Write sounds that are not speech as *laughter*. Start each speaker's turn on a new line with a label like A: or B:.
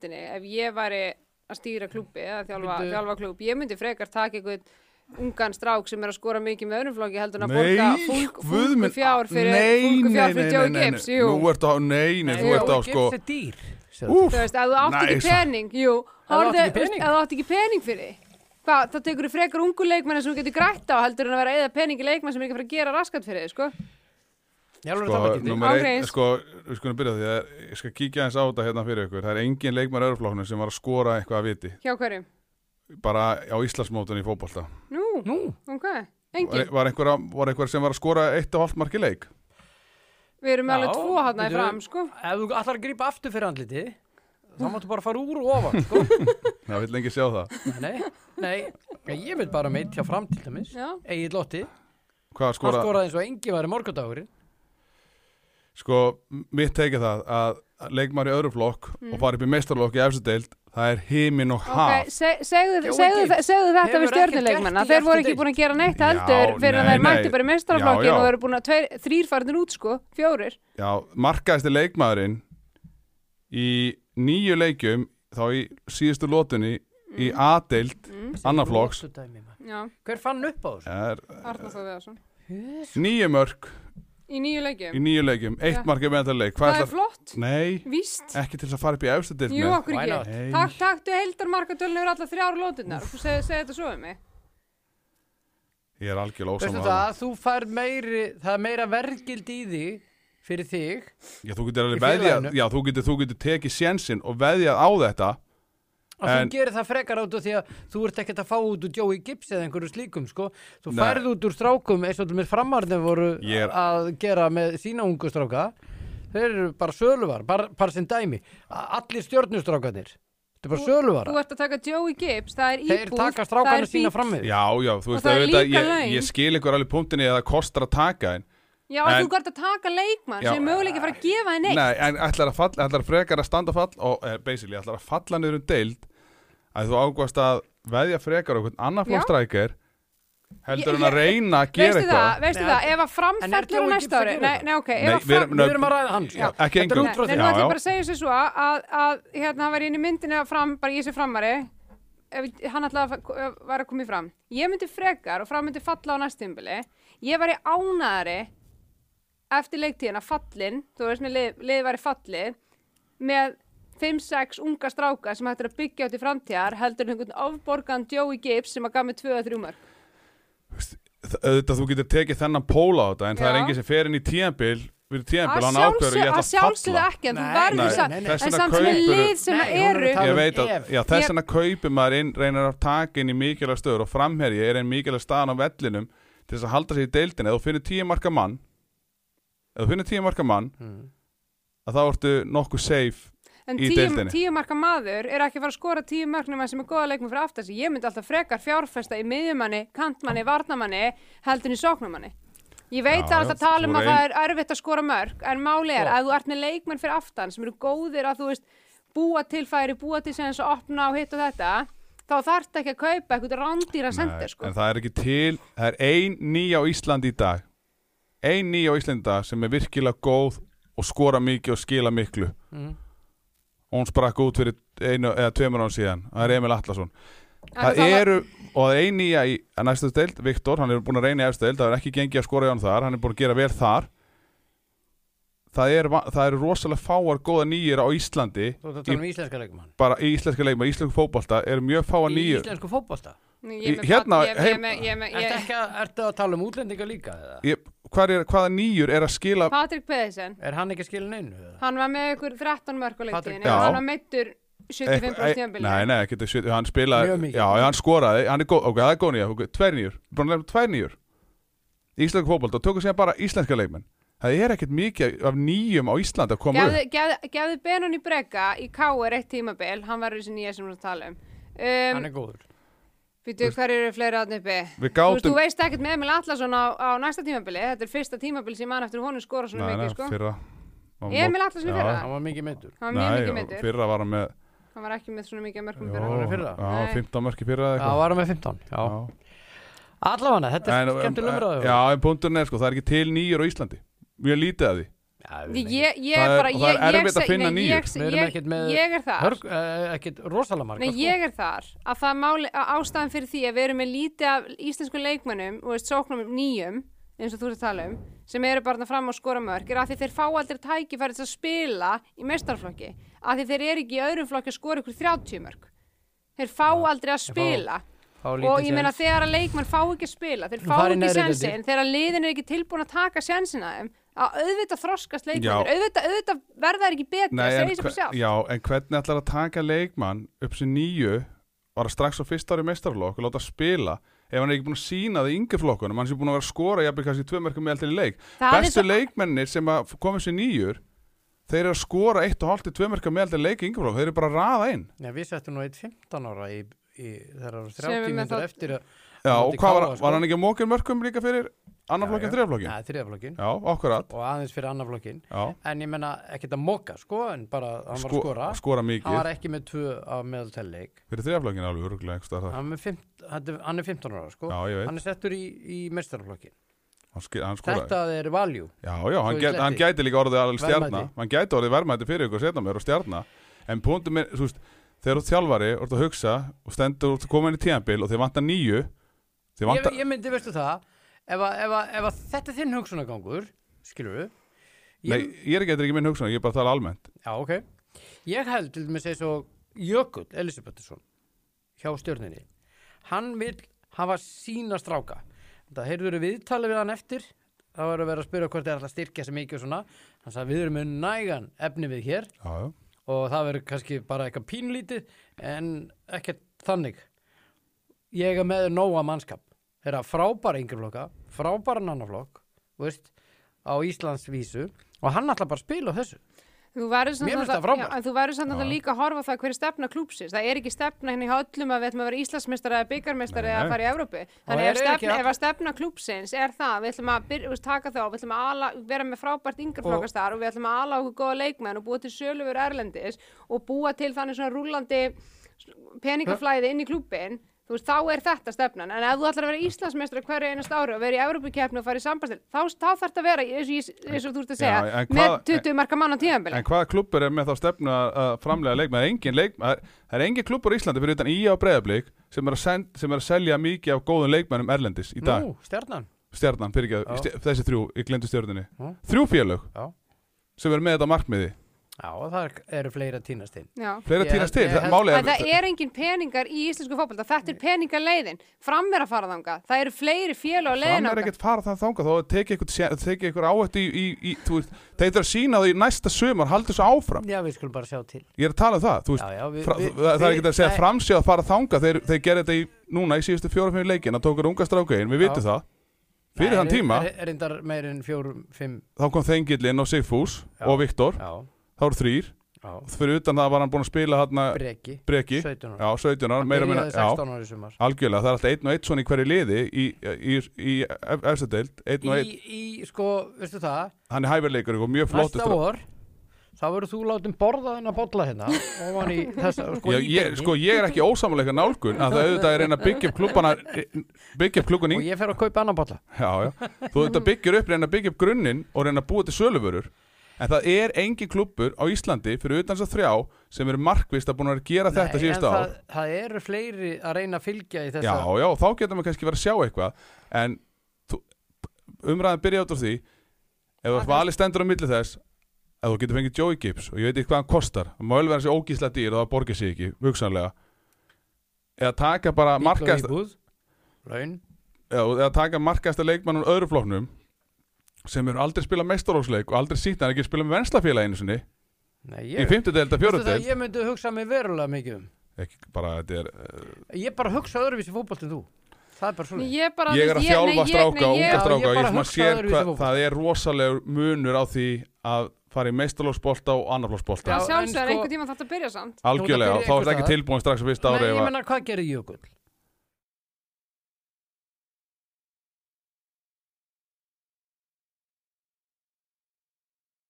A: deildinni ef ég væri að stýra klúbbi eða þjálfa,
B: Bíddu.
A: þjálfa klúbb, ég myndi frekar taka einhvern ungan strák sem er að skora mikið með öðrum flokki heldur en að borga
C: Nei,
A: fólk,
C: guð minn,
A: fólku fjár fyrir,
C: nei,
A: fólku
C: nei,
A: fjár
C: nei,
A: fyrir
C: nei,
A: Joey
C: nei,
A: Gibbs,
C: nei.
A: jú.
C: Nú ertu á, nei, nei, þú
A: Nei,
C: ert á
A: Joey
C: sko
B: Gibbs er dýr sagði
C: Úf,
A: Þú veist, ef þú átt
C: Nei,
A: ekki
C: sa-
A: pening, jú,
B: þú átt
A: horfðu,
B: ekki
A: þú veist,
B: pening?
A: ef þú átt ekki pening fyrir því, hvað, þá tekur þú frekar ungu leikmenn sem þú getur grætt á heldur en að vera eða pening í leikmenn sem er ekki að fara að gera raskat fyrir því, sko.
B: Ég alveg
C: Sko,
B: það var ekki
C: nummer einn,
A: Ágreins.
C: sko, við skulum byrja á því að ég skal kíkja eins á þetta hérna fyrir ykkur. Það er engin leikmar öðruflokknum sem var að skora eitthvað að viti,
A: Hjá hverjum?
C: bara á Íslandsmótunni í fótbolta.
A: Nú,
B: Nú,
A: ok,
C: Var,
A: engin.
C: var, einhver, var einhver sem var að skora eitt og hálft marki leik?
A: Við erum með alveg
B: Já,
A: tvo hann í
B: byrju.
A: fram, sko.
B: ef þú allar að grípa aftur fyrir andliti þá máttu bara fara úr og ofan sko.
C: Það vil lengi sjá það.
B: Nei, nei, ég vil bara meitt hjá fram til dæmis
A: Já.
B: Egil Lotti,
C: Hvað
B: hann
C: skora,
B: skoraði eins og engi var í morgundagurinn
C: sko, mitt tekið það að leikmar í öðruflokk mm. og fara upp í meistarlokk í efstu deild, það er himin og haf.
A: Ok, se- segðu
B: Jói
A: segðu
B: Gibbs
A: þe- segðu þetta
B: hefur
A: við
B: ekkert gert
A: stjörnuleikmenna,
B: í
A: þeir voru
B: efstu
A: ekki
B: deild.
A: búin að gera neitt
C: Já,
A: heldur fyrir að
C: nei,
A: þeir mættu
C: nei.
A: bara í
C: Já,
A: meistaraflokkin
C: já.
A: og eru búin að tveir- þrír farnir út, sko, fjórir.
C: Já, markaðist leikmaðurinn í nýju leikjum, þá í síðustu lótunni, í
A: Mhm.
C: A-deild, mm. annarflokks,
B: Dæmi, maður.
A: Já,
B: Hver fann upp á þessu?
C: er
A: Arnar Þór Viðarsson.
C: Nýju mörg
A: Í nýju
C: í
A: leikjum.
C: nýju leikjum, eitt
A: Já.
C: mark í meðanleik Hvað
A: Það er flott,
C: Nei,
A: víst.
C: ekki til þess að fara upp í efstu dild
A: Jú, okkur
B: Why not?
A: ekki.
C: Nei.
A: Tak, taktu heildarmarkatölinu yfir alla þrjár lótunar. Þú seg, segir þetta svo um mig.
C: Ég er algjörlega
B: Veistu
C: ósamlega
B: það, þú fær meiri, það er meira vergild í því fyrir þig
C: Já, þú getur
B: Í
C: alveg
B: félaginu.
C: veðjað Já, þú getur, þú getur tekið sénsinn og veðjað á þetta
B: að
C: En-
B: þú gerir það frekar át og því að þú ert ekkert að fá út úr Joey Gibbs eða einhverju slíkum sko. þú
C: Nei.
B: færð út úr strákum eins og til mér framarnir voru
C: Ég er-
B: að gera með sína ungu stráka þeir eru bara söluvar, bara, bara sem dæmi A- allir stjörnustrákanir þetta er bara söluvar
A: Þú ert að taka Joey Gibbs, það er
B: þeir
A: íbúð,
B: taka
A: það er
B: strákana sína
A: bíll.
B: fram með
C: Já, já, þú veist
A: það er
C: auðvitað,
A: líka
C: ég,
A: laun.
C: ég skil ykkur alveg punktinni eða kostar að taka en,
A: Já, en
C: En-
A: þú ert að taka leikmann
C: Já,
A: sem er möguleika að fara að gefa henni neitt.
C: Nei, en ætlar að, fall, ætlar að frekar að standa fall og eh, basically, ætlar að falla niður um deild að þú ágvast að veðja frekar okkur annar
A: Já.
C: flókstrækir heldur
A: Ég-
C: en að reyna að gera
A: Veistu það,
C: eitthvað
A: veistu
B: Nei,
A: það, ef að
B: en er
A: framfellur á
B: Joey Gibbs
A: næsta
B: að
A: ári,
B: gera
A: nei,
B: þetta?
A: nei, ok,
C: Nei,
A: ef að
C: við erum-
A: fram...
B: við erum að ræða hann sko.
C: Já, ekki
B: Þetta er
C: einhver-
B: út frá
A: Nei,
B: því.
A: nú
C: Já,
A: ætlum ég
C: já.
A: bara að segja sér svo að, að hérna, hann var inn í myndinni að fram, bara ég sé framari, ef hann ætlaði að fa- var að koma í fram. Ég myndi frekar og fram myndi falla á næstumbili. Ég var í ánæðari eftir leiktíðina fallin, þú veist, með lið, liðið var í falli, með 5-6 unga stráka sem hættir að byggja átt í framtíðar, heldur en einhvern ofborgan Joey Gibbs sem að gaf með 2-3 mörg.
C: Þa- auðvitað þú getur tekið þennan pól á þetta en það er
A: Já.
C: engin sem fer inn í tíðanbíl við tíðanbíl,
A: Að
C: hann ákveður
A: sjálfsög-
C: ég
A: að
C: ætla að
A: sjálfsögðu
C: falla
A: ekki, en þú
B: Nei,
A: verður
C: nei,
A: samt-
B: nei, nei.
C: Þess
A: en
C: vegna
A: samt sem er
C: kaupirðu-
A: lið sem
B: Nei,
A: að
B: hún er að
A: eru.
B: tala-
C: ég
B: um
C: veit að,
B: ef.
C: já, þess
A: Ég-
C: vegna kaupir maður inn reynir að taka inn í mikilvæg stöður og framherji er einn mikilvæg staðan á vellinum til þess að halda sér í deildinni, ef þú finnir tíu marka mann ef þú finnir tíu marka mann að þá ertu nokkuð safe
A: En
C: í
A: tíu,
C: deildinni.
A: tíu marka maður er ekki að fara að skora tíu marknum sem er góða leikmenn fyrir aftast. Ég myndi alltaf frekar fjárfesta í miðjumanni, kantmanni, varnamanni, heldur en í sóknumanni. Ég veit
C: Já,
A: að alltaf
C: já,
A: tala um
C: þú
A: að
C: reyn- Sko.
A: það er erfitt að skora mörg, en máli er
B: Já.
A: að þú ert með leikmenn fyrir aftan sem eru góðir að þú veist búa til færi, búa til sem að opna og hitt og þetta, þá þarft ekki að kaupa eitthvað rándýra
C: Nei,
A: sendir, sko.
C: en það er ekki til, það er ein nýja á Íslandi í dag ein nýja á Íslandi í dag sem er virkilega góð og skora mikið og skila miklu og hún sprakk út fyrir einu eða tveimur án síðan, það er Emil Atlason
A: En
C: það
A: það var-
C: eru, og það er ein nýja í að næstu deild, Viktor, hann er búin að reyna í efstu deild, það er ekki gengið að skora í hann þar hann er búin að gera vel þar það eru það er rosalega fáar góða nýjir á Íslandi
B: þú ert að
C: í,
B: tala um íslenska leikumann
C: bara í íslenska leikma, íslensku fótbolta eru mjög fáar
B: í
C: nýjir
B: íslensku fótbolta
A: Ég er með
C: hérna,
A: barn- ég- ég-
C: heim-
A: ég- ég- ég-
B: ertu ekki að, ertu að tala um útlendinga líka eða?
C: Ég- hvað er- hvaða nýjur er að skila
A: Patrik Pedersen,
B: er hann ekki að skilin einu eða?
A: hann var með ykkur 13 mörg á leiktíðinni,
C: Já.
A: hann var meittur 75
C: Eitthvað-
A: brúst
C: ei- Eh, Nei, nei, ekki, þetta er 70, hann spilaði
B: Mjög mikið.
C: Já, já, hann skoraði, hann er góð, ok, það er góð nýja ok, Tveir nýjur, bara nefnum tveir nýjur Íslenska fótbolta, og tóku sér bara íslenska leikmenn Það er ekkert mikið af nýjum á Íslandi að koma
A: gefðu, gefðu, gefðu Benoni Brega í KR eitt tímabil, hann var þessi nýja sem við erum að tala um. um
B: hann er góður
A: Býtu, hver eru fleiri aðn uppi? Þú
C: Við gátum-
A: veist, þú veist ekkert með Emil Atlasson á, á næsta tímabili, þetta er fyrsta tímabil sem hann eftir honum skora
C: upp
A: svona mikið, sko.
C: fyrra
A: Emil Atlason í fyrra?
B: hann var mikið meittur
A: Hann var mjög
C: Nei,
A: mikið
C: og
A: myndur,
C: fyrra var hann með
A: hann var ekki með svona mikið mörgum
C: Jó,
A: fyrir
B: hann í fyrra?
C: Já,
A: Nei.
C: 15 mörki fyrra
B: Já,
C: eða eitthvað
B: varum við 15, já.
C: Já.
B: Allavega, þetta er
C: En-
B: skemmtilega
C: en-
B: umræðu.
C: Já, en punkturinn er sko, það er ekki til nýjur á Íslandi Mjög lítið að því
B: það
A: Ég, ég, ég
C: Það er-
A: bara,
C: og
A: ég,
C: það er
A: ég,
C: erfitt að
A: seg-
C: finna
A: nei,
C: nýjur.
A: ég,
B: Við erum
A: ég,
B: ekkert með-
A: ég er þar
B: Hörg, eh, ekkit rosalega marga
A: Nei, ég er þar að það máli, að ástæðan fyrir því að við erum með lítið af íslensku leikmönnum og veist, sóknum nýjum, eins og þú ert að tala um sem eru bara þarna fram á skora mörg er að því þeir fá aldrei tækifæri til að spila í mestarflokki, að því þeir eru ekki í öðrum flokki að skora ykkur 30 mörg þeir fá aldrei að
B: fá-
A: spila
B: fá
A: og
B: lítið
A: ég meina
B: séns.
A: þegar að leikmenn fá ekki að spila þeir fá
B: fara í
A: ekki
B: neðri deildir.
A: sensin, þegar að liðin er ekki tilbúin að taka sensin að þeim að auðvitað þroskast leikmennir,
C: Já.
A: auðvitað, auðvitað verða þeir ekki betri,
C: Nei,
A: það
C: en,
A: segir sem
C: hve-
A: sjálf
C: já, en hvernig ætlar að taka leikmann upp sem nýju bara strax á fyrsta ári meistarflokk og láta spila ef hann er ekki búin að sína það í yngri flokkunum hann er búin að vera að skora jafnvel kannski tvö mörgum með alltaf í leik
A: Það er
C: bestu
A: svo-
C: leikmennir sem að komið sér nýjur þeir eru að skora eitt og hálft í tvö mörgum með alltaf í leik í yngri flokk þeir eru bara að raða inn
B: Nei, við settum nú eitt 15 ára í, í þegar það eru
A: Sem við
B: 30
A: með
B: minnir
A: þá-
B: eftir að
C: já,
B: á
C: og
B: móti
C: hvað var,
B: KR, sko.
C: var hann ekki að mókin mörgum líka fyrir annar flokkin, þriða flokkin?
B: Nei, þriðaflokkin
C: já, akkurat
B: og aðeins fyrir annar flokkin
C: já.
B: en ég menna ekkert að moka sko en bara hann var að
C: Sko-
B: skora
C: skora
B: hann
C: mikið
B: var ekki með tvö af meðaltelleik
C: fyrir þriða flokkin alveg örgulega einhvers staðar þar.
B: hann, er með fimt- hann er- hann er 15 ára sko
C: já, ég veit,
B: hann er settur í, í mestaraflokkin
C: hann, sk- hann skoraði
B: þetta er value
C: Já, já,
B: Svo
C: hann,
B: í
C: get, hann
B: kletti.
C: gæti líka orðið alveg stjarnar
B: Verðmæti.
C: Hann gæti orðið verðmæti fyrir ykkur setna mér og stjarnar En punktum er, þú veist, þegar þú ert þjálfari og ert að hugsa og stendur og koma inn í tíðanbíl og þeir vantar nýju Þeir
B: ég,
C: vantar,
B: ég myndi, veistu það ef, að- ef, að- ef að þetta er þinn hugsunagangur skilur við
C: Nei, ég er ekki eitthvað ekki minn hugsun, ég er bara að tala almennt
B: já, ok ég held til dæmis eins og Jökull Elisabethsson hjá stjörninni hann vil hafa sína stráka það heyrður viðtalið við hann eftir þá var að vera að spyrja hvort það er alltaf styrkja sem mikið og svona hann sagði við erum með nægan efni við hér
C: Já, já,
B: og það verður kannski bara eitthvað pínlítið en ekkert þannig ég er með nóga mannskap þeirra frábæra yngriflokka frábæra nannaflokk veist, á Íslandsvísu og hann ætla bara að spila á þessu
A: Þú verður samt
B: Mér finnst
A: náttúrulega-
B: það frábært.
A: Já, en þú verður samt náttúrulega líka að horfa á það hverju stefna klúpsins. Það er ekki stefna henni hjá öllum að við ætlum að vera Íslandsmeistari eða byggarmeistari
C: Nei.
A: eða að fara í Evrópu. Þannig ef
B: er ekki
A: stefna,
B: all-
A: ef að stefna klúpsins er það, við ætlum að byr, þú veist, taka þá, við ætlum að ala, vera með frábært yngreflokastar og, og við ætlum að ala okkur góða leikmenn og búa til sölufur erlendis og búa til þannig svona rúlandi peningaflæði inn í klúbin þú veist, þá er þetta stefnan en ef þú ætlar að vera Íslandsmeistari hverju einast ári og vera í Evrópukeppni og fara í sambastil þá, þá þarf þetta að vera, eins og, ég- eins og þú ert að segja
C: Já, en
A: með
C: hvað-
A: 20 marka mann á tíðanbili
C: En hvaða klubbur er með þá stefnu að að framlega leikmenn? Það er engin leikmenn, það er engin klubbur í Íslandi fyrir utan Ía og Breiðablík sem, er að send- sem er að selja mikið af góðum leikmennum erlendis í dag
B: Nú, stjarnan
C: Stjarnan, fyrirgeðu,
B: Já.
C: stj- þessi þrjú, ég glemdi stjörninni
B: Já.
C: Þrjú félög
B: já,
C: sem er með þetta markmiði
B: já og það eru fleira tínast inn
A: Já.
C: fleira
B: Ég held-
C: týnast til,
B: ég
C: það-
B: held-
C: málið
A: En það er engin peningar í íslensku fótbolta, þetta er peningaleiðin, fram er að fara þangað, það eru fleiri félag á leiðin
C: Fram er ekkert fara það þangað þá tekið ykkur, teki ykkur áhættu í, í, í þú veist, þeir þurfa að sína því næsta sömur haldur þessu áfram,
B: já, við skulum bara sjá til
C: ég er að tala um það þú veist,
B: Já, já, við-
C: fra,
B: við-
C: það er
B: við-
C: ekkert að segja
B: nei.
C: framsjá að fara þangað þeir, þeir gerði þetta í, núna í síðustu fjóra-fimm leikin að tókur unga strákaðin, við vitum
B: Já.
C: það fyrir þann tíma,
B: er, er, reyndar meir en fjórum, fimm
C: þá kom Þengillin og Sigfús
B: Já.
C: og Viktor,
B: já,
C: þá eru þrýr
B: já,
C: fyrir utan það var hann búin að spila hann
B: breki,
C: Breki,
B: 17 ára
C: já, 17 ára, meira minna,
B: Byrjaði
C: já
B: 16 ára í sumar
C: Algjörlega, það er alltaf einn og einn svona í hverju liði í, í, í, í efstu deild, einn og einn,
B: í, í, sko, veistu það
C: hann er hæfileikur og mjög
B: Næsta
C: flottur strá-
B: vor þá verður þú látum borða þennan bolla hérna ofan
C: *laughs*
B: í þessa sko,
C: ég, ég,
B: íbyrni.
C: sko, ég er ekki ósamleika nálgun að það auðvitað er einn að byggja upp klubbana byggja upp klubban í
B: og ég fer að kaupa annan bolla
C: já, já. þú auðvitað byggjur upp, reyna að byggja upp grunnin og reyna að búa til söluvörur en það er engin klubbur á Íslandi fyrir utan þess að þrjá sem eru markvist að búin að gera
B: Nei,
C: þetta
B: en
C: síðust ár
B: það, það eru fleiri að reyna að fylgja í
C: já,
B: þessa
C: já, þá getum við kannski verið að sjá eitthvað en þú, umræðan byrja út úr því ef það vali stendur á milli þess að þú getur fengið Joey Gibbs og ég veit ekki hvað hann kostar það má vel vera þessi ógísla dýr og það borgir sig ekki, hugsanlega eða taka bara
B: Bíll og
C: markast
B: íbúð, laun
C: Já, eða taka markaðasta leikmann úr öðru flokknum sem eru aldrei spila mestaróksleik og aldrei sýtt hann ekki spila með venslafélaginu sinni
B: Nei,
C: í
B: ég,
C: fymtu delta,
B: Veistu
C: fjóru
B: það,
C: delta
B: ég myndi hugsa mig verulega mikið um
C: ekki bara, þetta er eh,
B: ég bara hugsa öðruvísi fótbolt en þú það er bara svona
A: Ég, bara,
C: ég er að þjálfa stráka,
B: ég-
C: unga stráka
B: Já, ég
C: ég
B: bara
C: svona
B: hugsa
C: sér
B: öðruvísi
C: hvað
B: fótbolta.
C: það er rosalegur munur á því að fara í meistarlóksbolta og
A: Það
C: annarlóksbolta
B: Já, en
A: sjálfsögur,
B: sko-
A: einhvern tíma þetta byrja samt.
C: algjörlega,
B: Þú ert að byrja
C: þá er það
B: einhvers
C: ekki
B: staðar.
C: tilbúin strax á fyrsta
B: Nei,
C: ári
B: ég
C: ef að-
B: menna hvað gerir Jökull